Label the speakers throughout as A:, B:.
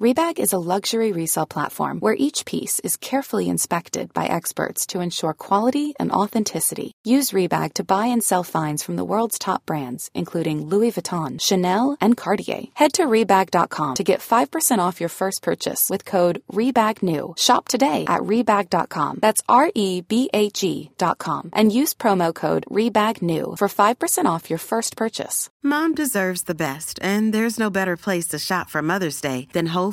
A: Rebag is a luxury resale platform where each piece is carefully inspected by experts to ensure quality and authenticity. Use Rebag to buy and sell finds from the world's top brands, including Louis Vuitton, Chanel, and Cartier. Head to Rebag.com to get 5% off your first purchase with code REBAGNEW. Shop today at Rebag.com. That's E R-E-B-A-G.com. And use promo code REBAGNEW for 5% off your first purchase.
B: Mom deserves the best, and there's no better place to shop for Mother's Day than Whole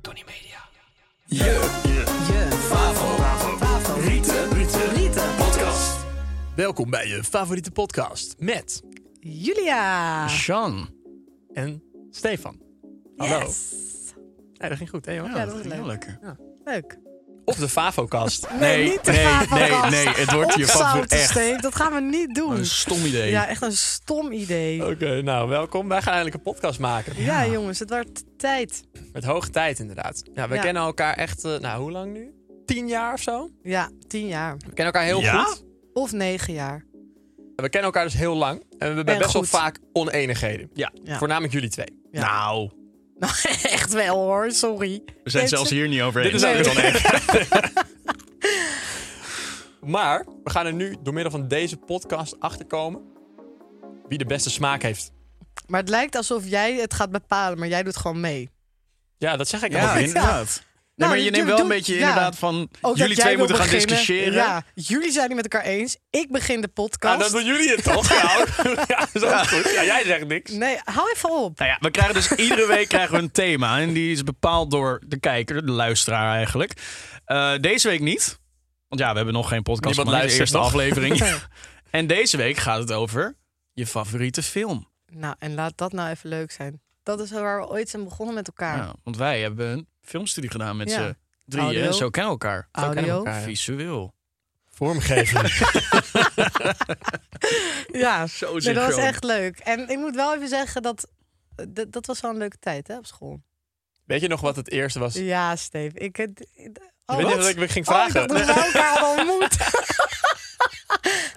C: Tony Media. Je, je, je. Favo. Favo. Rieten. Rieten. Podcast. Welkom bij je favoriete podcast met
D: Julia.
C: Sean en Stefan. Hallo. Nee, dat ging goed, hè joh?
D: Ja, dat was leuk.
E: lekker.
D: Leuk.
C: Of de Favocast.
D: Nee, niet de
E: nee,
D: Favo-kast.
E: nee, nee, het wordt je
D: Opzouten,
E: favoriet. Echt
D: Steve, dat gaan we niet doen.
E: een stom idee. Oh,
D: Ja, echt een stom idee.
C: Oké, nou welkom. Wij gaan eindelijk een podcast maken.
D: Ja, jongens, het wordt tijd.
C: Met hoge tijd inderdaad. Ja, we
D: Ja.
C: kennen elkaar echt, eh, nou hoe lang nu? Tien jaar of zo?
D: Ja, tien jaar.
C: We kennen elkaar heel
E: Ja?
C: goed.
D: Of negen jaar.
C: We kennen elkaar dus heel lang. En we hebben best
D: goed.
C: wel vaak oneenigheden.
E: Ja.
D: Ja.
C: Voornamelijk jullie twee.
D: Ja.
E: Nou,
D: Nou, echt wel hoor, sorry.
E: we zijn zelfs hier niet over
C: Dit is ook
E: eens.
C: een Maar we gaan er nu door middel van deze podcast achterkomen wie de beste smaak heeft.
D: Maar het lijkt alsof jij het gaat bepalen, maar jij doet gewoon mee.
C: Ja, dat zeg ik
E: Ja,
C: altijd.
E: inderdaad. Nee, maar
D: doe-
E: je neemt wel
D: Nou, doe-
E: een beetje
D: ja.
E: inderdaad van...
D: Ook
E: jullie
D: dat jij
E: twee
D: wil
E: moeten gaan
D: beginnen.
E: discussiëren. Ah,
D: Ja, jullie zijn het met elkaar eens. Ik begin de
C: Ja,
D: podcast.
C: dat Nou, doen jullie het toch? Ja, ja is ook goed. Ja, jij zegt niks.
D: Nee, hou even op.
E: Nou ja, we krijgen dus iedere week krijgen we een thema. En die is bepaald door de kijker, de luisteraar eigenlijk. Eh, deze week niet. Want ja, we hebben nog geen podcast
C: Niemand
E: gemaakt. de
C: luistert nog.
E: eerste aflevering. en deze week gaat het over je favoriete film.
D: Nou, en laat dat nou even leuk zijn. Dat is waar we ooit zijn begonnen met elkaar.
E: Ja, Nou, want wij hebben een filmstudie gedaan met
D: Ja.
E: z'n drieën.
D: Audio.
E: En zo kennen we elkaar.
D: Zo kennen we Audio. elkaar,
C: ja.
E: Visueel.
C: Vormgeven.
D: Ja,
E: Zo
D: nee, dat
E: synchroon.
D: was echt leuk. En ik moet wel even zeggen dat dat, dat was wel een leuke tijd hè, op school.
C: Weet je nog wat het eerste was? Ik
D: Ja, Steve. Ik, het- oh,
C: weet niet
D: wat?
C: wat ik me ging
D: Oh, ik
C: vragen.
D: dacht dat we elkaar hadden ontmoet.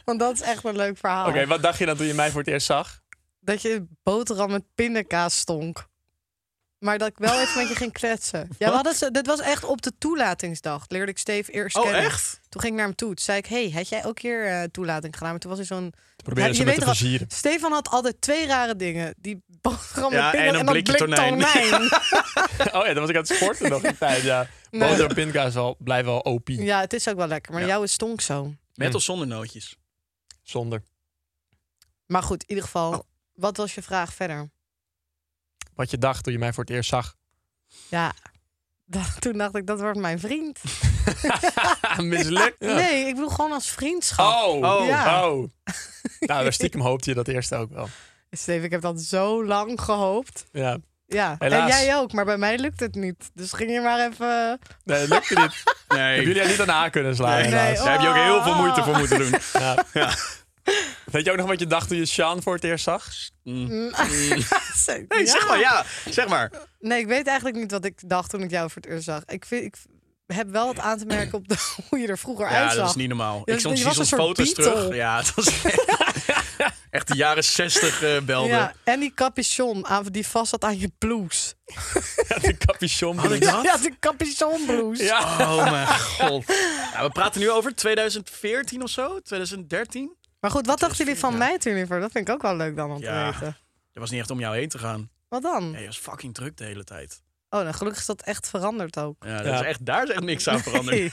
D: Want dat is echt een leuk verhaal.
C: Oké, wat dacht je dan toen je mij voor het eerst zag?
D: Dat je boterham met pindakaas stonk. Maar dat ik wel even met je ging kletsen. Ja, we hadden ze, dit was echt op de toelatingsdag. Leerde ik Steve eerst
E: Oh,
D: kennen.
E: echt?
D: Toen ging ik naar hem toe. Toen zei ik, hey, had jij ook hier eh, toelating gedaan? Maar toen was hij zo'n...
C: probeerden
D: Ja,
C: ze me
D: je weet
C: te
D: toch-
C: plezieren.
D: Stefan had altijd twee rare dingen. Die boterham met
E: Ja,
D: pindakaas
E: en een
D: dat
E: blikje tonijn.
D: tonijn.
C: Oh ja, dan was ik aan het sporten nog een tijd. Ja.
D: Nee.
C: Boter en pindkaas al, blijf wel OP.
D: ja, het is ook wel lekker. Maar
E: Ja.
D: jouw is stonk zo.
E: Met of zonder nootjes?
C: Zonder.
D: Maar goed, in ieder geval,
E: Oh.
D: wat was je vraag verder?
C: Wat je dacht toen je mij voor het eerst zag.
D: Ja, da- toen dacht ik, dat wordt mijn vriend.
C: Mislukt.
D: Nee, ik bedoel gewoon als vriendschap.
C: Oh, oh,
D: Ja.
C: oh. Nou, daar stiekem hoopte je dat eerst ook wel.
D: Steve, ik heb dat zo lang gehoopt.
C: Ja.
D: Ja,
C: Helaas.
D: en jij ook, maar bij mij lukt het niet. Dus ging je maar even...
C: Nee, dat lukte niet.
E: Nee.
C: Hebben jullie er niet aan haar kunnen slaan,
E: Nee.
C: helaas.
E: Daar heb je ook heel
D: oh.
E: veel moeite voor moeten doen.
C: Ja. Weet je ook nog wat je dacht toen je Sean voor het eerst zag?
E: Nee, zeg maar, ja. Zeg maar.
D: Nee, ik weet eigenlijk niet wat ik dacht toen ik jou voor het eerst zag. Ik, vind, ik heb wel wat aan te merken op de, hoe je er vroeger
E: Ja,
D: uitzag.
E: dat is niet normaal.
D: Je
E: ik soms
D: was- je
E: zie
D: was een soort
E: soms foto's
D: Beatle.
E: terug. Ja, het was echt de jaren zestig eh belden.
D: Ja, en die capuchon aan, die vast zat aan je blouse.
C: Ja, de capuchon.
E: Had ik dat?
D: Ja, de capuchon blouse.
C: Ja.
E: Oh mijn god. Ja, we praten nu over 2014 of zo, 2013.
D: Maar goed, wat dachten jullie van mij toen hiervoor? Dat vind ik ook wel leuk dan om
E: Ja.
D: te weten.
E: Dat was niet echt om jou heen te gaan.
D: Wat dan?
E: Ja, je was fucking druk de hele tijd.
D: Oh, nou, gelukkig is dat echt veranderd ook.
E: Ja, dat
C: Ja.
E: Is echt, daar is echt niks aan veranderd.
D: Hey.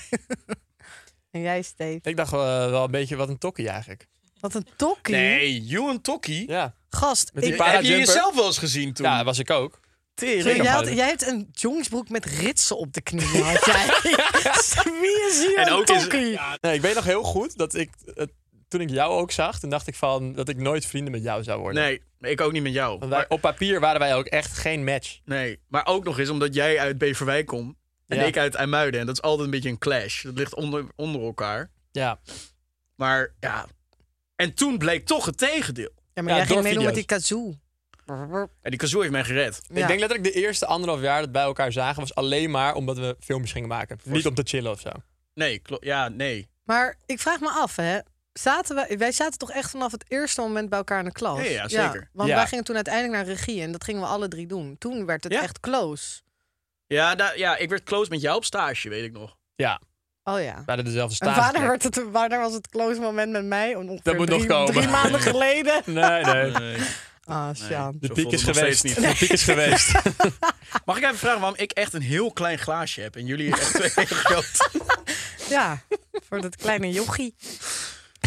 D: en jij, Steve.
C: Ik dacht eh, wel een beetje wat een tokkie eigenlijk.
D: Wat een tokkie.
E: Nee, Johan Tokkie.
C: Ja,
D: Gast,
C: Met die
D: ik-
C: pa-
E: Heb je
C: Parajumper.
E: jezelf wel eens gezien toen?
C: ja dat was ik ook.
D: Jij,
E: Tering.
D: had, jij hebt een jongensbroek met ritsen op de knieën. Had jij. Wie is hier
E: En
D: een
E: ook is-
D: tokkie?
C: Nee, ik weet nog heel goed dat ik... eh, toen ik jou ook zag, toen dacht ik van dat ik nooit vrienden met jou zou worden.
E: Nee, ik ook niet met jou.
C: Want wij,
E: Maar,
C: op papier waren wij ook echt geen match.
E: nee, maar ook nog eens omdat jij uit Beverwijk komt en
C: Ja.
E: ik uit IJmuiden. En dat is altijd een beetje een clash. Dat ligt onder, onder elkaar.
C: Ja.
E: Maar ja. En toen bleek toch het tegendeel.
D: Ja, maar
C: Ja,
D: jij ging
C: door
D: meedoen met die
C: video's.
D: kazoo.
E: En die kazoo heeft mij gered.
D: Ja.
C: Ik denk letterlijk de eerste anderhalf jaar dat wij elkaar zagen was alleen maar omdat we filmpjes gingen maken. Niet om te chillen of zo.
E: Nee, klopt. Ja, nee.
D: Maar ik vraag me af, hè. Zaten wij, wij zaten toch echt vanaf het eerste moment bij elkaar in de klas?
E: Ja, ja, zeker.
D: want
C: Ja.
D: wij gingen toen uiteindelijk naar regie en dat gingen we alle drie doen. Toen werd het
E: Ja.
D: echt close.
E: Ja, da- ja, ik werd close met jou op stage, weet ik nog.
C: Ja,
D: Oh ja.
C: we hadden dezelfde
D: En
C: stage.
D: wanneer, werd het, wanneer was het close moment met mij? Ongeveer
C: Dat moet
D: drie,
C: nog komen.
D: Drie maanden geleden.
C: Nee, nee.
D: Ah, Sjaan.
C: De
E: Zo
C: piek
E: voelt
C: is
E: het nog
C: geweest.
E: steeds
C: De piek is geweest.
E: Mag ik even vragen waarom ik echt een heel klein glaasje heb en jullie echt twee hele grote?
D: Ja, voor dat kleine jochie.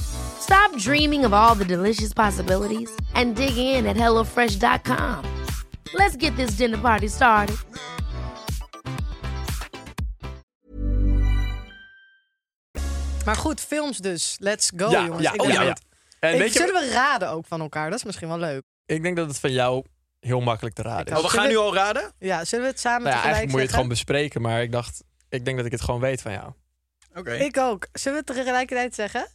F: Stop dreaming of all the delicious possibilities and dig in at HelloFresh.com. Let's get this dinner party started.
D: Maar goed, films dus. Let's go,
C: ja,
D: jongens.
C: ja,
D: Ik
C: oh,
D: ben
C: ja, ja.
D: benieuwd.
C: En
D: Ik-
C: weet je,
D: Zullen we raden ook van elkaar? Dat is misschien wel leuk.
C: ik denk dat het van jou heel makkelijk te raden is.
E: Oh, we gaan nu al raden?
D: Ja, zullen we het samen
C: Nou ja,
D: tegelijk
C: eigenlijk moet je het gewoon
D: zeggen?
C: bespreken, maar ik dacht, ik denk dat ik het gewoon weet van jou.
E: Oké.
D: Ik ook. Zullen we het tegelijkertijd zeggen?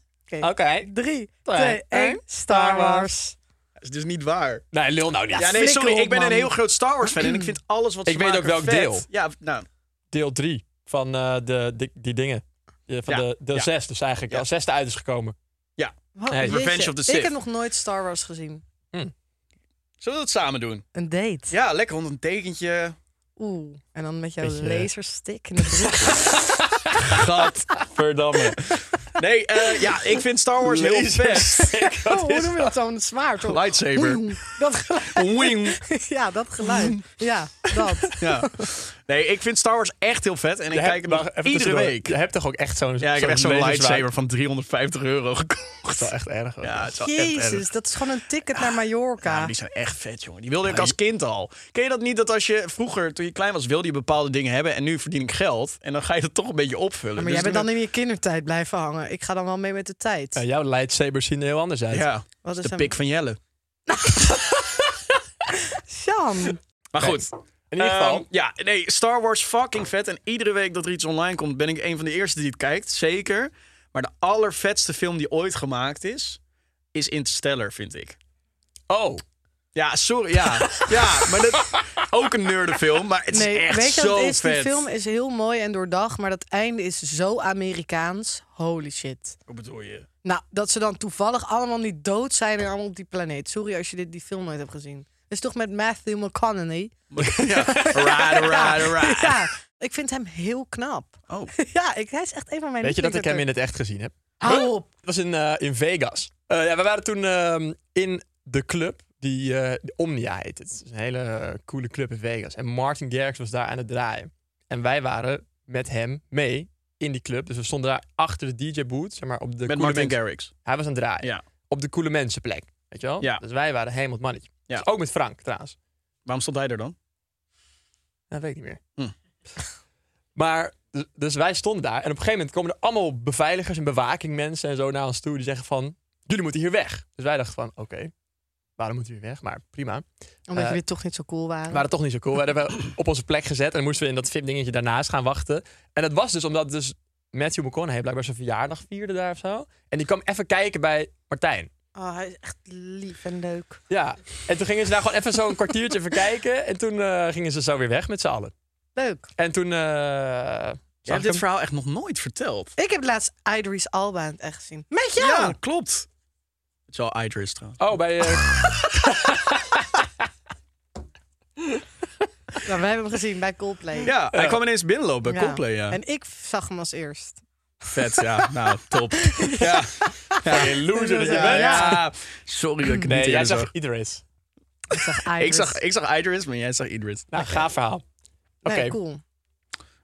D: Oké. Drie,
C: Twee,
D: twee, één.
C: één.
D: Star Wars.
E: Dat is dus niet waar.
C: Nee, lul nou niet.
E: Ja, nee, sorry.
D: flikker op,
E: ik ben een
D: man.
E: heel groot Star Wars fan en ik vind alles wat ze
C: Ik weet ook
E: maken
C: welk
E: vet.
C: deel.
E: Ja, nou.
C: Deel 3 van eh, de, die, die dingen. Ja, Van
E: Ja,
C: de, deel
E: ja.
C: 6 dus eigenlijk.
E: Ja.
C: Als zesde uit is gekomen.
D: Wat-
C: Nee,
D: jeetje.
E: Revenge of the Sith.
D: Ik heb nog nooit Star Wars gezien.
E: Zullen we dat samen doen?
D: Een date.
E: Ja, lekker onder een tekentje.
D: Oeh. En dan met jouw
C: Beetje-
E: eh,
D: laserstick in de broek.
C: Gadverdamme.
E: Nee, eh, ja, ik vind Star Wars heel vet.
D: oh, hoe noem je dat zo? Een zwaard. hoor.
E: Lightsaber.
D: Dat geluid.
E: Wing.
D: ja, dat geluid. Ja, dat.
E: Ja. Nee, ik vind Star Wars echt heel vet en ik
C: Je hebt-
E: kijk hem nog
C: wacht, even
E: iedere
C: tussendoor.
E: week.
C: Je hebt toch ook echt zo'n
E: Ja, ik heb
C: zo'n
E: echt zo'n
C: laserzwaard?
E: lightsaber van 350 euro
C: Dat is
E: gekocht.
C: wel echt erg. hoor.
E: Ja, het is wel echt erg.
D: Jezus, dat is gewoon een ticket naar
E: Ja,
D: Mallorca.
E: maar die zijn echt vet, jongen. Die wilde ik als kind al. Ken je dat niet dat als je vroeger, toen je klein was, wilde je bepaalde dingen hebben en nu verdien ik geld en dan ga je dat toch een beetje opvullen.
D: Maar
E: Dus
D: jij bent
E: toen-
D: dan in je kindertijd blijven hangen. Ik ga dan wel mee met de tijd.
C: Ja, jouw lightsabers zien er heel anders uit.
E: Ja,
D: Wat is
E: de
D: hem?
E: pik van Jelle.
D: Sjaan.
E: Maar goed.
C: In ieder geval.
E: Ehm, ja, nee, Star Wars fucking vet. En iedere week dat er iets online komt, ben ik een van de eerste die het kijkt. Zeker. Maar de allervetste film die ooit gemaakt is, is Interstellar, vind ik.
C: Oh.
E: Ja, sorry, ja. ja, maar dat... Ook een nerdenfilm, maar het is
D: Nee,
E: echt
D: weet je
E: zo
D: wat het is?
E: vet.
D: Die film is heel mooi en doordacht, maar dat einde is zo Amerikaans. Holy shit.
E: Hoe bedoel je?
D: Nou, dat ze dan toevallig allemaal niet dood zijn en allemaal op die planeet. Sorry als je dit, die film nooit hebt gezien. Dat is toch met Matthew McConaughey?
E: Ja, ride, ride, ride.
D: Ja, ik vind hem heel knap.
E: Oh.
D: Ja, ik, hij is echt een van mijn
C: Weet je dat ik hem in
D: lievelingsacteurs.
C: het echt gezien heb?
D: Hou op.
C: Het was in, eh, in Vegas. Eh, ja, we waren toen ehm, in de club die eh, de Omnia heet. Het is een hele eh, coole club in Vegas. En Martin Garrix was daar aan het draaien. En wij waren met hem mee in die club. Dus we stonden daar achter de DJ-boot. Zeg maar, op de
E: Met
C: coole
E: Martin
C: mensen-
E: Garrix.
C: Hij was aan het draaien.
E: Ja.
C: Op de coole mensenplek. Weet je wel?
E: Ja.
C: Dus wij waren helemaal het mannetje.
E: Ja.
C: Dus ook met Frank trouwens.
E: Waarom stond hij er dan?
C: Dat weet ik niet meer.
E: Hm.
C: Maar, dus- dus wij stonden daar. En op een gegeven moment komen er allemaal beveiligers en bewakingmensen en zo naar ons toe. Die zeggen van, jullie moeten hier weg. Dus wij dachten van, oké, waarom moeten we hier weg? Maar prima.
D: Omdat
C: Eh,
D: jullie toch niet zo cool waren.
C: We waren toch niet zo cool. We hebben op onze plek gezet. En dan moesten we in dat VIP-dingetje daarnaast gaan wachten. En dat was dus omdat dus Matthew McConaughey blijkbaar zijn verjaardag vierde daar of zo. En die kwam even kijken bij Martijn.
D: Oh, hij is echt lief en leuk.
C: Ja, en toen gingen ze daar gewoon even zo'n kwartiertje even kijken. En toen eh, gingen ze zo weer weg met z'n allen.
D: Leuk.
C: En toen... eh
E: Je
C: zag
E: hebt
C: ik
E: dit
C: hem.
E: verhaal echt nog nooit verteld.
D: Ik heb laatst Idris Alba in het echt gezien. Met jou!
E: Ja, klopt. Het is wel Idris trouwens.
C: Oh, bij... eh,
D: Nou, we hebben hem gezien bij Coldplay.
E: Ja, hij kwam ineens binnenlopen bij
D: Ja.
E: Coldplay, ja.
D: En ik zag hem als eerst.
E: Vet, ja. Nou, top. Ja. Ja,
C: loser dat je
E: ja,
C: bent.
E: ja. Sorry dat ik het niet
C: nee, jij
E: eerder
C: zag
E: zag.
C: Idris.
D: Ik zag
E: Ik
D: Idris.
E: zag, ik zag Idris, maar jij zag Idris.
C: Nou, gaaf verhaal. Oké,
D: Nee, cool.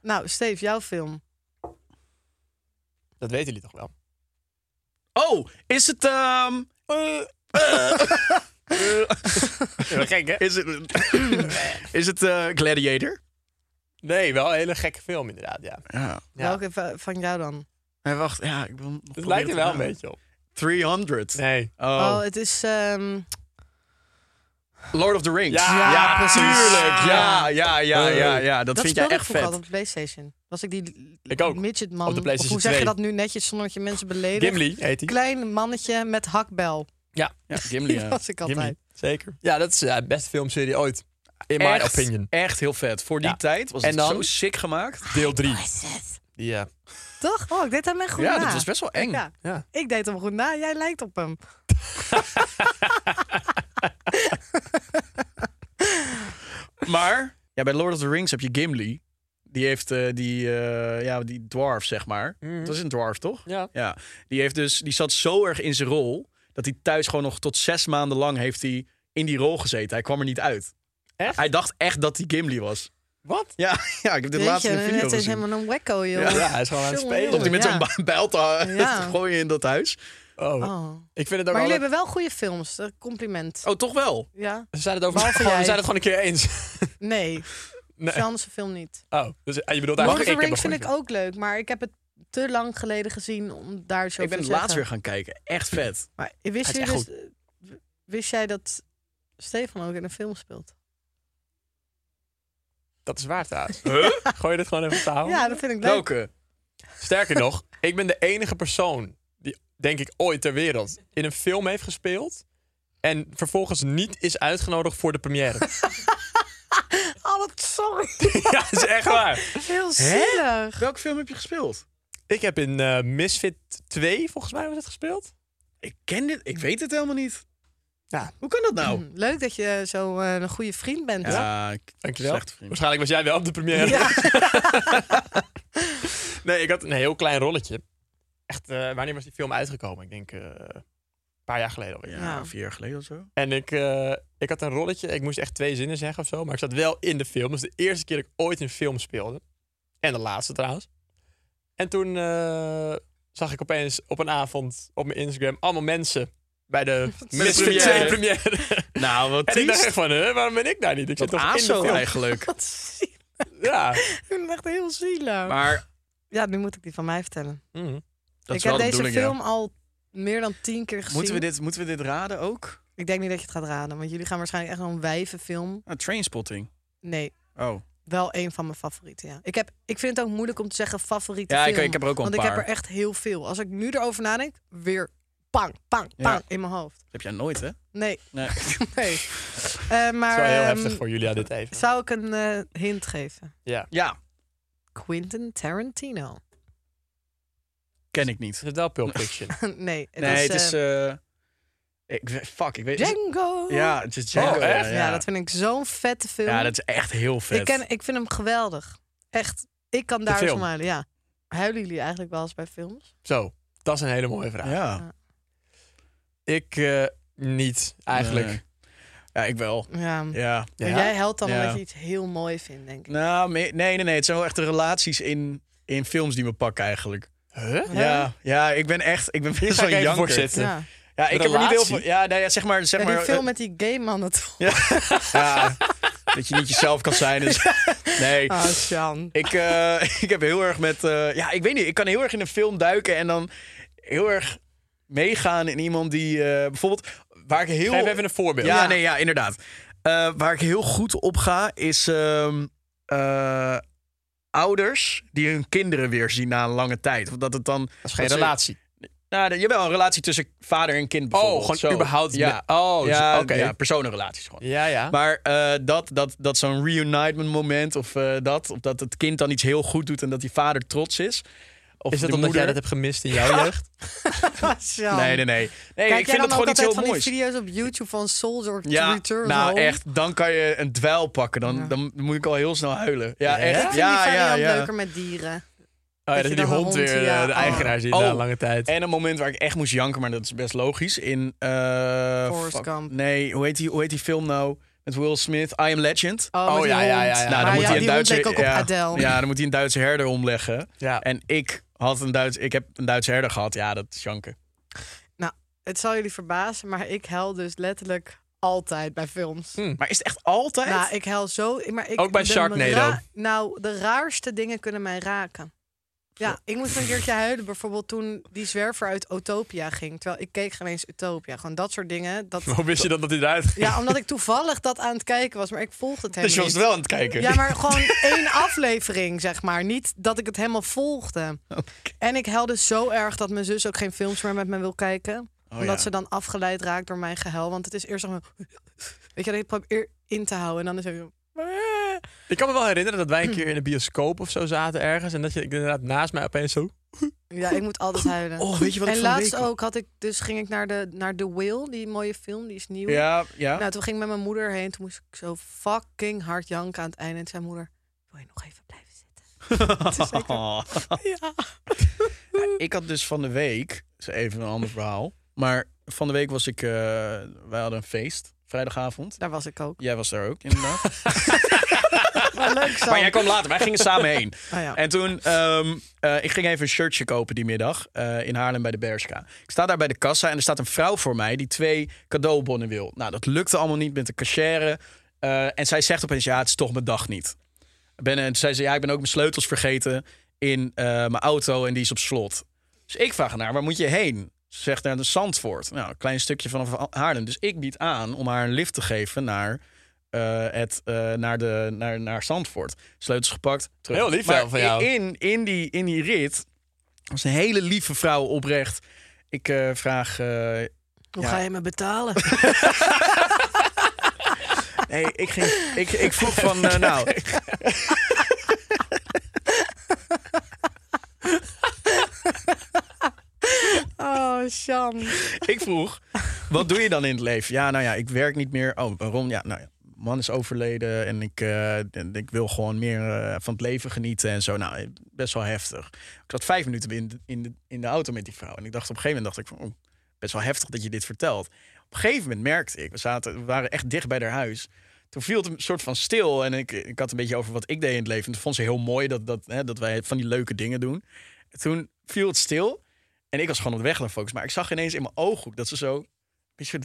D: Nou, Steve, jouw film.
C: dat weten jullie toch wel.
E: Oh, is het... ehm, eh, eh, eh,
C: gek, hè?
E: is het, is het eh, Gladiator?
C: Nee, wel een hele gekke film inderdaad, ja.
E: Ja.
C: Ja.
D: Welke va- van jou dan?
E: Nee, wacht, ja, ik wil nog
C: Het
E: proberen
C: lijkt
E: te
C: er wel een
E: raden.
C: beetje op.
E: 300.
C: Nee.
E: Oh.
D: Oh, het is... ehm,
E: Lord of the Rings.
C: Ja,
E: Oh. precies. Tuurlijk. Ja, ja, ja, ja, ja. Dat,
D: dat
E: vind jij
D: speelde
E: echt
D: ik vroeger altijd
E: vet.
D: op de Playstation. Was ik die
C: Ik ook.
D: midgetman?
C: Op de PlayStation
D: of hoe zeg
C: 2.
D: je dat nu netjes zonder dat je mensen beledigt?
C: Gimli heet hij.
D: Klein mannetje met hakbel.
C: Ja,
E: Ja, Gimli.
D: Die
E: ja.
D: was ik altijd.
C: Gimli. Zeker. Ja, dat is eh, de beste filmserie ooit. In mijn
E: Echt,
C: opinion.
E: Echt heel vet. Voor die
C: Ja.
E: tijd was
C: En
E: het
C: dan?
E: zo sick gemaakt.
C: Deel 3. Ja.
D: Toch? Oh, ik deed hem echt goed
E: Ja,
D: na.
E: dat was best wel eng.
D: Ja,
C: Ja.
D: ik deed hem goed na. Jij lijkt op hem.
E: Maar ja, bij Lord of the Rings heb je Gimli. Die heeft eh, die, eh, ja, die dwarf, zeg maar. Dat is een dwarf, toch?
C: Ja.
E: ja. Die, heeft dus, die zat zo erg in zijn rol... dat hij thuis gewoon nog tot zes maanden lang heeft hij in die rol gezeten. Hij kwam er niet uit.
C: Echt?
E: Hij dacht echt dat hij Gimli was.
C: Wat?
E: Ja, ja ik heb dit laatste in
D: Jeetje,
E: een video
D: het is
E: gezien.
D: helemaal een wekko, joh.
C: Ja, hij is gewoon aan het
D: Jongen,
C: spelen.
E: Stond hij met
D: Ja.
E: zo'n ba- bijl te,
D: Ja.
E: te gooien in dat huis.
C: Oh.
D: Oh.
C: Ik vind het ook
D: Maar
C: wel...
D: jullie hebben wel goede films. eh, Compliment.
E: Oh, toch wel?
D: Ja?
C: We zijn het over...
D: Behalve
C: gewoon- we
D: jij.
C: zijn het gewoon een keer eens.
D: Nee,
C: Nee.
D: Franse film niet.
C: Oh, dus, ah, je bedoelt
D: Lord of
C: eigenlijk...
D: the
C: ik heb
D: Rings
C: een
D: vind
C: goede
D: ik ook leuk, maar ik heb het te lang geleden gezien om daar zo
E: Ik ben
D: te
E: het laatst
D: zeggen.
E: weer gaan kijken. Echt vet.
D: Maar wist,
C: Hij
D: je
C: is
D: dus, wist jij dat Stefan ook in een film speelt?
C: Dat is waar trouwens. Gooi je dit gewoon even op tafel?
D: Ja, dat vind ik leuk.
E: Welke?
C: Sterker nog, ik ben de enige persoon die, denk ik, ooit ter wereld in een film heeft gespeeld. En vervolgens niet is uitgenodigd voor de première.
D: Oh, dat sorry.
C: ja, dat is echt waar.
D: Heel zielig.
E: Welke film heb je gespeeld?
C: Ik heb in eh, Misfit 2, volgens mij was het gespeeld.
E: Ik ken dit.
D: Mm.
E: Ik weet het helemaal niet.
C: Ja.
E: Hoe kan dat nou?
D: Hm, Leuk dat je zo eh, een goede vriend bent.
E: Ja, ik-
C: Dankjewel.
E: Slechte vriend.
C: Waarschijnlijk was jij wel op de première. nee, ik had een heel klein rolletje. Echt, eh, wanneer was die film uitgekomen? Ik denk eh, een paar jaar geleden alweer.
E: Ja,
D: Ja.
E: vier jaar geleden of zo.
C: En ik, eh, ik had een rolletje. Ik moest echt twee zinnen zeggen of zo. Maar ik zat wel in de film. Dus de eerste keer dat ik ooit een film speelde. En de laatste trouwens. En toen eh, zag ik opeens op een avond op mijn Instagram allemaal mensen bij de Misfit 2
E: première.
C: première.
E: Nou, wat
C: en ik dacht
E: triest.
C: echt van, hè, waarom ben ik daar niet? Ik zit
E: Wat
C: toch in de
E: aso
C: film.
E: eigenlijk.
D: Wat zielig.
C: Ja.
D: Ik vind het echt heel zielig.
E: Maar
D: Ja, nu moet ik die van mij vertellen.
C: Mhm.
E: dat
D: ik
E: is wel
D: heb
E: de
D: deze
E: bedoeling,
D: film
E: ja.
D: al meer dan tien keer gezien.
E: Moeten we, dit, moeten we dit raden ook?
D: Ik denk niet dat je het gaat raden, want jullie gaan waarschijnlijk echt een wijvenfilm.
E: Ah, Trainspotting.
D: Nee,
E: Oh.
D: wel een van mijn favorieten, ja. Ik, heb, ik vind het ook moeilijk om te zeggen favoriete
E: Ja, ik-
D: film.
E: ik heb er ook al een
D: Want ik heb
E: paar.
D: er echt heel veel. Als ik nu erover nadenk, weer pang, pang,
E: Ja.
D: pang in mijn hoofd.
E: Dat heb jij nooit, hè?
D: Nee,
E: Nee.
D: nee. Eh,
C: Het is
D: maar
C: wel heel
D: ehm,
C: heftig voor Julia dit even.
D: zou ik een eh, hint geven?
C: Ja.
E: ja,
D: Quentin Tarantino.
E: ken ik niet.
C: Het is wel Pulp Fiction.
D: nee, het
E: nee,
D: is,
E: het is...
D: eh,
E: eh, ik, we- fuck, ik weet het.
D: Django.
E: Ja, het is Django.
C: Oh,
E: ja,
C: echt?
D: Ja,
E: Ja,
D: dat vind ik zo'n vette film.
E: Ja, dat is echt heel vet.
D: Ik, ken, ik vind hem geweldig. Echt, ik kan daar
C: film.
D: van huilen, ja. Huilen jullie eigenlijk wel eens bij films?
C: Zo, dat is een hele mooie vraag.
E: Ja.
C: Ik eh, niet, eigenlijk.
E: Nee. Ja, ik wel.
D: Mm. Ja.
E: Ja.
D: Maar
C: Ja?
D: jij helpt dan
E: Ja.
D: omdat je iets heel mooi vindt, denk ik.
E: Nou, me- nee, nee, nee. Het zijn wel echt de relaties in, in films die we pakken eigenlijk.
C: Huh?
E: Ja, ja, ik ben echt, ik ben
C: Hier
E: best
C: ga
E: wel
C: ik even voor
E: janker.
C: zitten.
D: Ja.
E: Ja, ik heb er niet heel
C: Relatie?
E: veel. Ja, nee, ja, zeg maar, zeg
D: Ja,
E: maar.
D: die film
E: eh,
D: met die gay mannen toch?
E: ja, dat je niet jezelf kan zijn. Dus, nee.
D: Ah, Sjan.
E: Ik, eh, ik heb heel erg met. eh, ja, ik weet niet. Ik kan heel erg in een film duiken en dan heel erg meegaan in iemand die eh, bijvoorbeeld waar ik heel.
C: Geef even een voorbeeld.
E: Ja, nee, ja, inderdaad. Eh, waar ik heel goed op ga is ehm, eh, ouders die hun kinderen weer zien na een lange tijd. Of dat het dan.
C: Dat is geen relatie. Oh,
E: Nou, de- jawel, een relatie tussen vader en kind bijvoorbeeld.
C: gewoon
E: Zo.
C: überhaupt
E: Ja,
C: me- oh,
E: ja,
C: zo- oké.
E: ja, personenrelaties gewoon.
C: Ja, ja.
E: Maar eh, dat, dat, dat zo'n reunitement moment of eh, dat, of dat het kind dan iets heel goed doet en dat die vader trots is. Of
C: is dat
E: de
C: omdat
E: moeder.
C: jij dat hebt gemist in jouw jeugd? Oh
D: Ah, Sjan.
E: Nee, nee, nee. nee
D: Kijk
E: ik
D: jij dan
E: vind dat
D: ook
E: gewoon iets
D: altijd
E: heel
D: van
E: moois.
D: die video's op YouTube van Soldier
E: Ja,
D: Return
E: nou
D: Home?
E: echt, dan kan je een dwijl pakken. Dan, dan moet ik al heel snel huilen. Ja,
D: Ik
E: echt.
D: vind
E: Ja,
D: die
E: ja,
D: variant
E: ja.
D: leuker met dieren.
C: Oh, ja,
D: Dat
C: dat
D: je
C: je
D: dan
C: die
D: een
C: hond
D: hond,
C: weer eh,
D: ja.
C: de eigenaar ziet
E: Oh.
C: na een lange tijd.
E: En een moment waar ik echt moest janken, maar dat is best logisch. In. eh
D: Forrest Gump.
E: Nee, hoe heet, die, hoe heet die film nou? Met Will Smith, I Am Legend.
D: Oh, met die
C: ja, ja, ja,
D: hond.
C: ja.
E: Nou, dan
D: Maar
E: moet
D: ja,
E: hij een
D: die hond
E: Duitse,
D: leek ook op
E: ja,
D: Adele.
E: Ja, dan moet hij een Duitse herder omleggen.
C: Ja.
E: En ik had een Duits, ik heb een Duitse herder gehad. Ja, dat is janken.
D: Nou, het zal jullie verbazen, maar ik huil dus letterlijk altijd bij films.
C: Hm.
E: Maar is het Hm. echt altijd?
D: Nou, ik huil zo. Maar ik,
C: Ook bij
D: de
C: Sharknado.
D: ra- nou, de raarste dingen kunnen mij raken. Ja, ik moest een keertje huilen bijvoorbeeld toen die zwerver uit Utopia ging. Terwijl ik keek geen eens Utopia. Gewoon dat soort dingen. Dat,
C: Hoe wist je dat dat hij eruit ging?
D: ja, omdat ik toevallig dat aan het kijken was, maar ik volgde het helemaal
E: dus je was
D: niet.
E: het wel aan het kijken.
D: Ja, maar gewoon één aflevering, zeg maar. Niet dat ik het helemaal volgde. En ik huilde zo erg dat mijn zus ook geen films meer met me wil kijken. omdat
E: Oh ja.
D: ze dan afgeleid raakt door mijn gehuil. Want het is eerst nog... een- Weet je, dat ik probeer in te houden. En dan is het... zo-
C: Ik kan me wel herinneren dat wij een keer in de bioscoop of zo zaten ergens. En dat je inderdaad naast mij opeens zo... "Eh,
D: Ja, ik moet altijd huilen.
E: Oh, weet je wat
D: en
E: ik van de
D: laatst
E: week-
D: ook had ik... Dus ging ik naar, de, naar The Whale, die mooie film. Die is nieuw.
E: Ja, ja.
D: Nou, toen ging ik met mijn moeder heen. Toen moest ik zo fucking hard janken aan het einde. En toen zei mijn moeder... Wil je nog even blijven zitten?
E: Oh.
D: Ja.
E: Ik had dus van de week, is even een ander verhaal. Maar van de week was ik, eh, wij hadden een feest, vrijdagavond.
D: Daar was ik ook.
E: Jij was daar ook, inderdaad.
D: Maar leuk zo.
E: Maar jij kwam later, wij gingen samen heen.
D: Ah, ja.
E: En toen, ehm, eh, ik ging even een shirtje kopen die middag eh, in Haarlem bij de Berska. Ik sta daar bij de kassa en er staat een vrouw voor mij die twee cadeaubonnen wil. Nou, dat lukte allemaal niet met de cachère. Eh, en zij zegt opeens, ja, het is toch mijn dag niet. Ik Ben, en toen zei ze, ja, ik ben ook mijn sleutels vergeten in eh, mijn auto en die is op slot. Dus ik vraag haar, waar moet je heen? Ze zegt naar de Zandvoort. Nou, een klein stukje vanaf Haarlem. Dus ik bied aan om haar een lift te geven naar, eh, het, eh, naar, de, naar, naar Zandvoort. Sleutels gepakt, terug.
C: Heel lief
E: Maar
C: wel van jou.
E: In, in, die, in die rit was een hele lieve vrouw oprecht. Ik eh, vraag... eh,
D: Hoe
E: Ja.
D: ga je me betalen?
E: nee, ik, ging, ik, ik vroeg van, eh, nou...
D: Oh, Sjan.
E: ik vroeg, wat doe je dan in het leven? Ja, nou ja, ik werk niet meer. Oh, waarom? Ja, nou ja, man is overleden en ik, eh, en ik wil gewoon meer eh, van het leven genieten en zo. Nou, best wel heftig. Ik zat vijf minuten in de, in de, in de auto met die vrouw. En ik dacht op een gegeven moment, dacht ik van, oh, best wel heftig dat je dit vertelt. Op een gegeven moment merkte ik, we, zaten, we waren echt dicht bij haar huis. Toen viel het een soort van stil en ik, ik had een beetje over wat ik deed in het leven. En toen vond ze heel mooi dat, dat, hè, dat wij van die leuke dingen doen. En toen viel het stil en ik was gewoon op de weg naar focus. Maar ik zag ineens in mijn ooghoek dat ze zo... Weet je,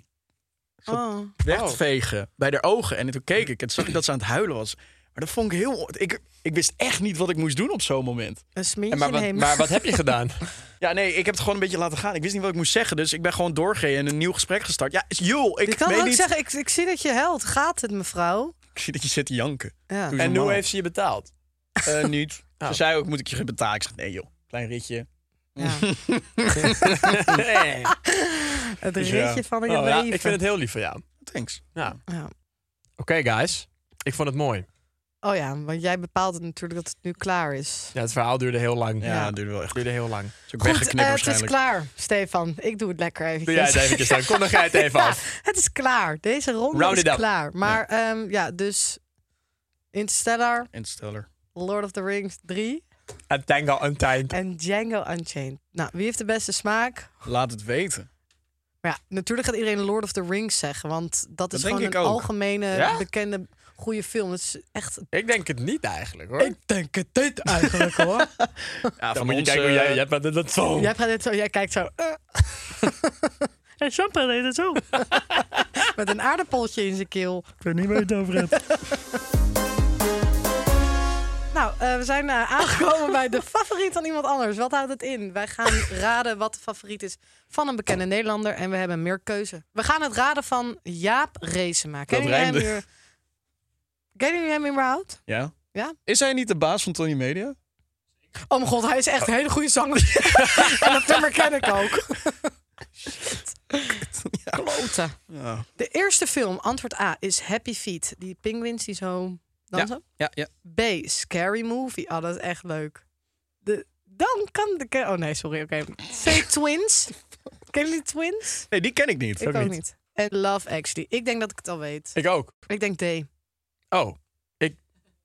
D: Oh.
E: wegvegen bij haar ogen. En toen keek ik en toen zag ik dat ze aan het huilen was. Maar dat vond ik heel... Ik, ik wist echt niet wat ik moest doen op zo'n moment.
D: Een smintje
C: En maar, wat,
D: nemen.
C: maar wat heb je gedaan?
E: Ja, nee, ik heb het gewoon een beetje laten gaan. Ik wist niet wat ik moest zeggen, dus ik ben gewoon doorgegaan en een nieuw gesprek gestart. Ja, joh, ik
D: je kan
E: weet
D: ook
E: niet...
D: zeggen, ik, ik zie dat je huilt. Gaat het, mevrouw?
E: Ik zie dat je zit te janken.
D: Ja.
E: Doe eens
C: En
E: normaal.
C: hoe heeft ze je betaald?
E: Eh, niet.
D: Oh.
E: Ze zei ook, moet ik je gaan betalen? Ik zeg, nee joh, klein ritje.
D: Ja.
C: Nee.
D: Het
E: Dus ja.
D: ritje van je
C: Oh, ja,
D: leven.
C: ik vind het heel lief van jou.
E: Thanks.
C: Ja.
D: Ja.
C: Oké, guys. Ik vond het mooi.
D: Oh ja, want jij bepaalt het natuurlijk dat het nu klaar is.
C: Ja, het verhaal duurde heel lang.
E: Ja,
D: Ja.
E: dat duurde wel echt.
C: duurde heel lang.
E: Is
D: Goed,
E: ook weggeknipt
D: eh, het is
E: waarschijnlijk.
D: klaar, Stefan. Ik doe het lekker
C: Doe
D: eventjes.
C: jij het eventjes dan. Kom, dan ga je het even af.
D: Het is klaar. Deze ronde
C: Round
D: is
C: it up.
D: klaar. Maar ja, ja dus Interstellar,
E: Interstellar.
D: Lord of the Rings 3
C: En Tango Untimed.
D: en Django Unchained. Nou, wie heeft de beste smaak?
E: Laat het weten.
D: Maar ja, natuurlijk gaat iedereen Lord of the Rings zeggen, want dat, is
E: denk
D: gewoon een
E: ik ook.
D: algemene
C: Ja?
D: bekende goede film. Dat is echt
C: Ik denk het niet eigenlijk, hoor.
D: denk het dit eigenlijk hoor.
E: Ja,
C: dan moet je kijken hoe
E: eh,
C: jij... Je hebt maar dat- dat zo.
D: jij, gaat dit zo, jij kijkt zo. eh. en Jean-Paul deed het zo. Met een aardappeltje in zijn keel.
E: Ik weet niet waar je het over hebt.
D: Nou, eh, we zijn eh, aangekomen bij de favoriet van iemand anders. Wat houdt het in? Wij gaan raden wat de favoriet is van een bekende Nederlander. En we hebben meer keuze. We gaan het raden van Jaap Reesema. Kennen jullie hem
E: rijmde.
D: weer? Kennen jullie hem überhaupt?
E: Ja?
D: Ja?
E: Is hij niet de baas van Tony Media?
D: Oh mijn god, hij is echt een hele goede zanger. en dat nummer ken ik ook. Klote.
E: Ja.
D: De eerste film, antwoord A, is Happy Feet. Die pinguïns die zo dansen.
E: Ja, ja.
D: B, Scary Movie. Oh, dat is echt leuk. De, dan kan de... ke- Oh nee, sorry. Oké. C, Twins. Ken jullie Twins?
E: Nee, die ken ik niet.
D: Ik ook niet. En Love Actually. Ik denk dat ik het al weet.
C: Ik ook.
D: Ik denk D.
C: Oh. Ik,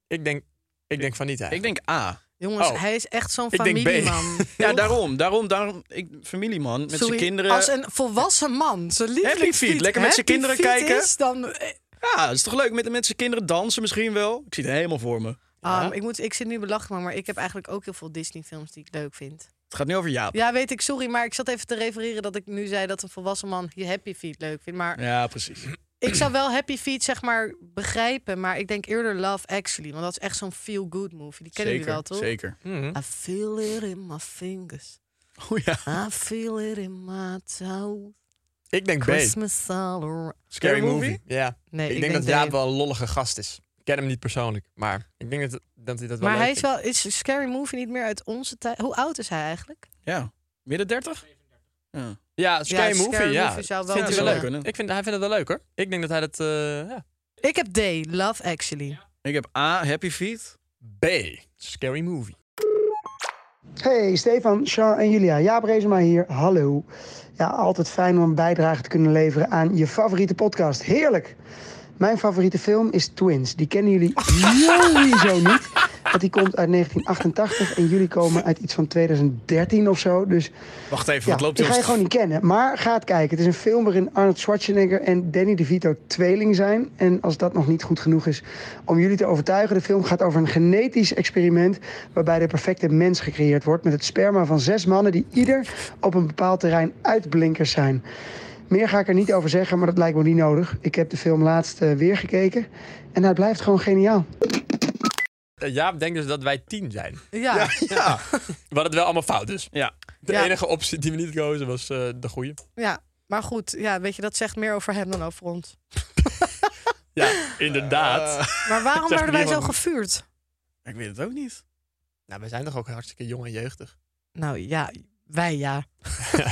C: ik, denk, ik denk van niet, eigenlijk.
E: Ik denk A.
D: Jongens,
E: Oh.
D: hij is echt zo'n
E: Ik denk B.
D: familieman.
E: Ja,
D: Toch?
E: daarom. Daarom, daarom. Ik, familieman, met zijn
D: Sorry,
E: kinderen.
D: Als een volwassen man. Zijn lievelingsfiets.
E: fiets, lekker met zijn
D: happy
E: kinderen
D: fiets
E: kijken.
D: Is, dan, eh,
E: Ja, is toch leuk? Met, met zijn kinderen dansen misschien wel. Ik zie het helemaal voor me.
D: ah,
E: Ja.
D: ik, moet, ik zit nu belachelijk, maar ik heb eigenlijk ook heel veel Disney-films die ik leuk vind.
E: Het gaat nu over Jaap.
D: Ja, weet ik, sorry, maar ik zat even te refereren dat ik nu zei dat een volwassen man je Happy Feet leuk vindt. Maar
E: Ja, precies.
D: ik zou wel Happy Feet, zeg maar, begrijpen. Maar ik denk eerder Love Actually, want dat is echt zo'n feel-good movie. Die kennen jullie
E: zeker,
D: wel, toch?
E: zeker.
C: Hmm.
D: I feel it in my fingers.
E: Oh ja.
D: I feel it in my toes.
C: Ik denk B.
D: Christmas all around.
E: Scary movie?
C: Ja.
D: Nee,
C: ik,
D: ik
C: denk,
D: denk
C: dat Jaap
D: D.
C: wel een lollige gast is. Ik ken hem niet persoonlijk, maar ik denk dat, dat hij dat wel
D: Maar
C: leuk
D: hij is
C: vindt.
D: wel, is een Scary Movie niet meer uit onze tijd? Hoe oud is hij eigenlijk?
E: Ja. Midden 30? Ja.
C: Ja, Scary
D: Ja,
C: Movie,
D: Scary
C: ja.
D: Movie zou wel
C: vindt hij wel
E: kunnen.
C: leuk.
E: kunnen.
C: Ik vind, hij vindt het wel leuk, hoor. Ik denk dat hij dat... eh, ja.
D: Ik heb D, Love Actually.
E: Ik heb A, Happy Feet.
C: B. Scary Movie.
G: Hey Stefan, Char en Julia. Jaap Rezema hier. Hallo. Ja, altijd fijn om een bijdrage te kunnen leveren aan je favoriete podcast. Heerlijk. Mijn favoriete film is Twins. Die kennen jullie sowieso niet. Want die komt uit 1988 en jullie komen uit iets van 2013 of zo. Dus
E: Wacht even,
G: ja,
E: wat loopt
G: die
E: heel
G: ga je
E: snel.
G: gewoon niet kennen. Maar ga het kijken. Het is een film waarin Arnold Schwarzenegger en Danny DeVito tweeling zijn. En als dat nog niet goed genoeg is om jullie te overtuigen... de film gaat over een genetisch experiment... waarbij de perfecte mens gecreëerd wordt... met het sperma van zes mannen die ieder op een bepaald terrein uitblinkers zijn. Meer ga ik er niet over zeggen, maar dat lijkt me niet nodig. Ik heb de film laatst eh, weer gekeken en hij blijft gewoon geniaal.
C: Eh, Jaap denkt dus dat wij tien zijn.
D: Ja, ja.
E: Ja.
C: We hadden het wel allemaal fout, dus.
E: ja.
C: De
D: Ja.
C: enige optie die we niet kozen was eh, de goede.
D: Maar goed, ja, weet je, dat zegt meer over hem dan over ons.
C: Ja, inderdaad.
D: Maar waarom
C: Zegt
D: werden wij zo
C: niemand.
D: gevuurd?
E: Ik weet het ook niet.
C: nou, wij zijn toch ook hartstikke jong en jeugdig.
D: Nou ja, wij ja.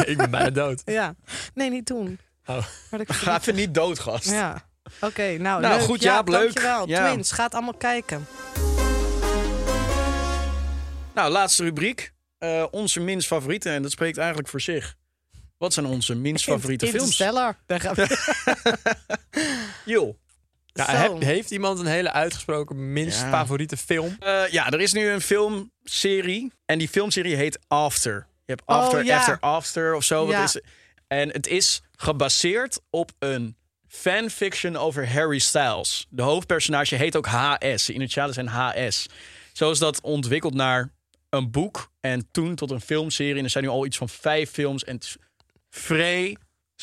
C: ik ben bijna dood.
D: Ja. Nee, niet toen.
C: Oh.
D: Maar dat ik
E: Ga even niet dood, gast.
D: Ja. Oké, nou,
E: Nou,
D: leuk.
E: goed, Jaap, leuk.
D: Dankjewel.
E: Ja.
D: Twins, gaat allemaal kijken.
E: Nou, laatste rubriek. Eh, onze minst favoriete. En dat spreekt eigenlijk voor zich. Wat zijn onze minst favoriete films?
D: Interstellar. Daar gaan we-
E: Joh.
C: Ja,
D: Zo.
C: heb- Nou, heeft iemand een hele uitgesproken minst
E: Ja.
C: favoriete film?
E: Eh, ja, er is nu een filmserie. En die filmserie heet After. Je hebt
D: Oh,
E: After,
D: ja.
E: After, After of zo. Wat
D: Ja.
E: is en het is gebaseerd op een fanfiction over Harry Styles. De hoofdpersonage heet ook HS. De initialen zijn HS. Zo is dat ontwikkeld naar een boek en toen tot een filmserie. En er zijn nu al iets van vijf films. En het is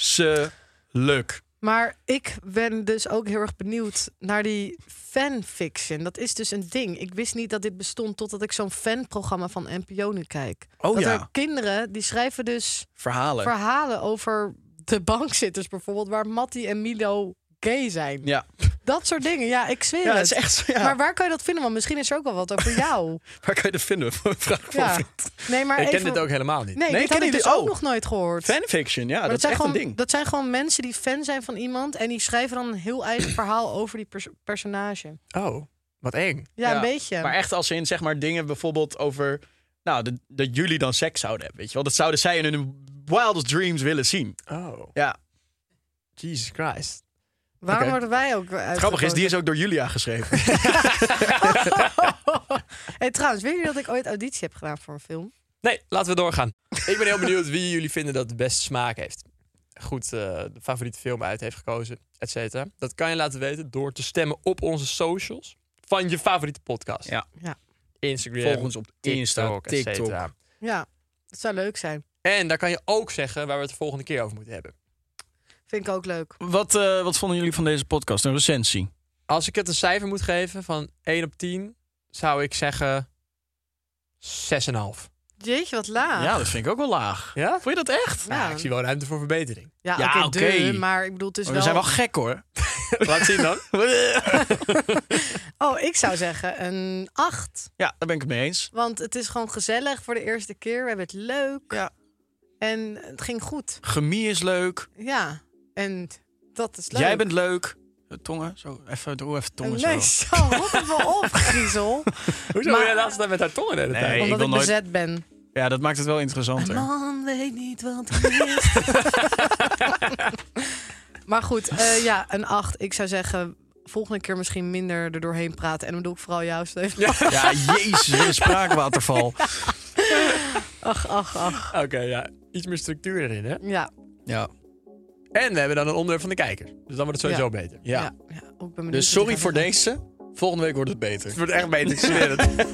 E: vreselijk.
D: Maar ik ben dus ook heel erg benieuwd naar die fanfiction. Dat is dus een ding. Ik wist niet dat dit bestond totdat ik zo'n fanprogramma van NPO nu kijk.
E: Oh
D: dat
E: ja.
D: er kinderen, die schrijven dus
E: Verhalen.
D: verhalen over de bankzitters bijvoorbeeld... waar Matty en Milo gay zijn.
E: ja.
D: Dat soort dingen. Ja, ik zweer
E: ja,
D: het.
E: het is echt zo. Ja.
D: Maar
E: Waar,
D: waar kan je dat vinden? Want misschien is er ook wel wat over jou.
E: kan je dat vinden? Vraag ik
D: ja.
E: van vriend.
D: Nee, maar
C: ik ken
D: even-
C: dit ook helemaal niet.
D: Nee,
E: Nee,
D: dit had
E: ken je
D: ik dus
E: dit-
D: ook
E: oh.
D: nog nooit gehoord.
E: Fanfiction, ja, dat,
D: Maar
E: is echt
D: zijn
E: een
D: gewoon,
E: ding.
D: Dat zijn gewoon mensen die fan zijn van iemand. En die schrijven dan een heel eigen verhaal over die pers- personage.
C: Oh, wat eng.
D: Ja, een beetje.
E: Maar echt als in zeg maar dingen bijvoorbeeld over. Nou, dat- dat jullie dan seks zouden hebben. Weet je wel, dat zouden zij in hun wildest dreams willen zien.
C: Oh,
E: Ja.
C: Jesus Christ.
D: Waarom
C: oké.
D: worden wij ook uit?
E: Het grappige is, die is ook door Julia geschreven.
D: Hey, trouwens, weet je dat ik ooit auditie heb gedaan voor een film?
C: Nee, laten we doorgaan. ik ben heel benieuwd wie jullie vinden dat de beste smaak heeft. Goed, eh, de favoriete film uit heeft gekozen, et cetera. Dat kan je laten weten door te stemmen op onze socials van je favoriete podcast.
E: Ja.
D: Ja.
C: Instagram,
E: Volg ons op Insta,
C: TikTok, et
E: TikTok.
C: cetera.
D: Ja, dat zou leuk zijn.
C: En daar kan je ook zeggen waar we het de volgende keer over moeten hebben.
D: Vind ik ook leuk.
E: Wat, eh, wat vonden jullie van deze podcast? Een recensie?
C: Als ik het een cijfer moet geven van 1 op 10, zou ik zeggen 6,5.
D: Jeetje, wat laag.
E: Ja, dat vind ik ook wel laag.
C: Ja?
E: Vond je dat echt?
D: Ja.
C: Nou, ik zie wel ruimte voor verbetering.
D: Ja,
E: Ja,
D: oké,
E: oké.
D: duh, maar ik bedoel, het is
E: Oh, We
D: wel...
E: zijn wel gek hoor.
C: Laat zien dan.
D: Oh, ik zou zeggen een acht.
E: Ja, daar ben ik het mee eens.
D: Want het is gewoon gezellig voor de eerste keer. We hebben het leuk. Ja. En het ging goed.
E: Chemie is leuk.
D: Ja, en dat is leuk.
E: Jij bent leuk. Eh, Tongen, zo. Even, doe even tongen
D: Nee,
E: zo.
D: zo, rot het wel op, Griezel.
C: Hoezo
D: Maar-
C: wil jij laatst met haar tongen de hele
E: Nee,
C: tijd?
E: ik
D: Omdat
E: wil
D: ik
E: nooit-
D: bezet ben.
E: Ja, dat maakt het wel interessanter.
D: Man weet niet wat hij is. maar goed, eh, ja, een 8. Ik zou zeggen volgende keer misschien minder er doorheen praten. En dan bedoel ik vooral jou, Steven.
E: Ja, jezus, wat een spraakwaterval.
D: Ach, ach, ach.
C: Oké, ja. Iets meer structuur erin, hè?
D: Ja,
E: Ja.
C: En we hebben dan een onderwerp van de kijker. Dus dan wordt het sowieso
D: Ja.
C: beter.
E: Ja.
D: ja. ja. Oh, ik ben benieuwd wat
E: Dus
D: je
E: sorry
D: gaat
E: voor
D: zeggen.
E: deze. Volgende week wordt het beter.
C: Het wordt echt beter, ik zweer het.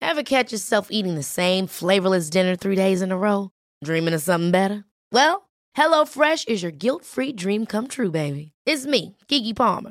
F: Ever catch yourself eating the same flavorless dinner three days in a row? Dreaming of something better? Well, HelloFresh is your guilt free dream come true, baby. It's me, Kiki Palmer.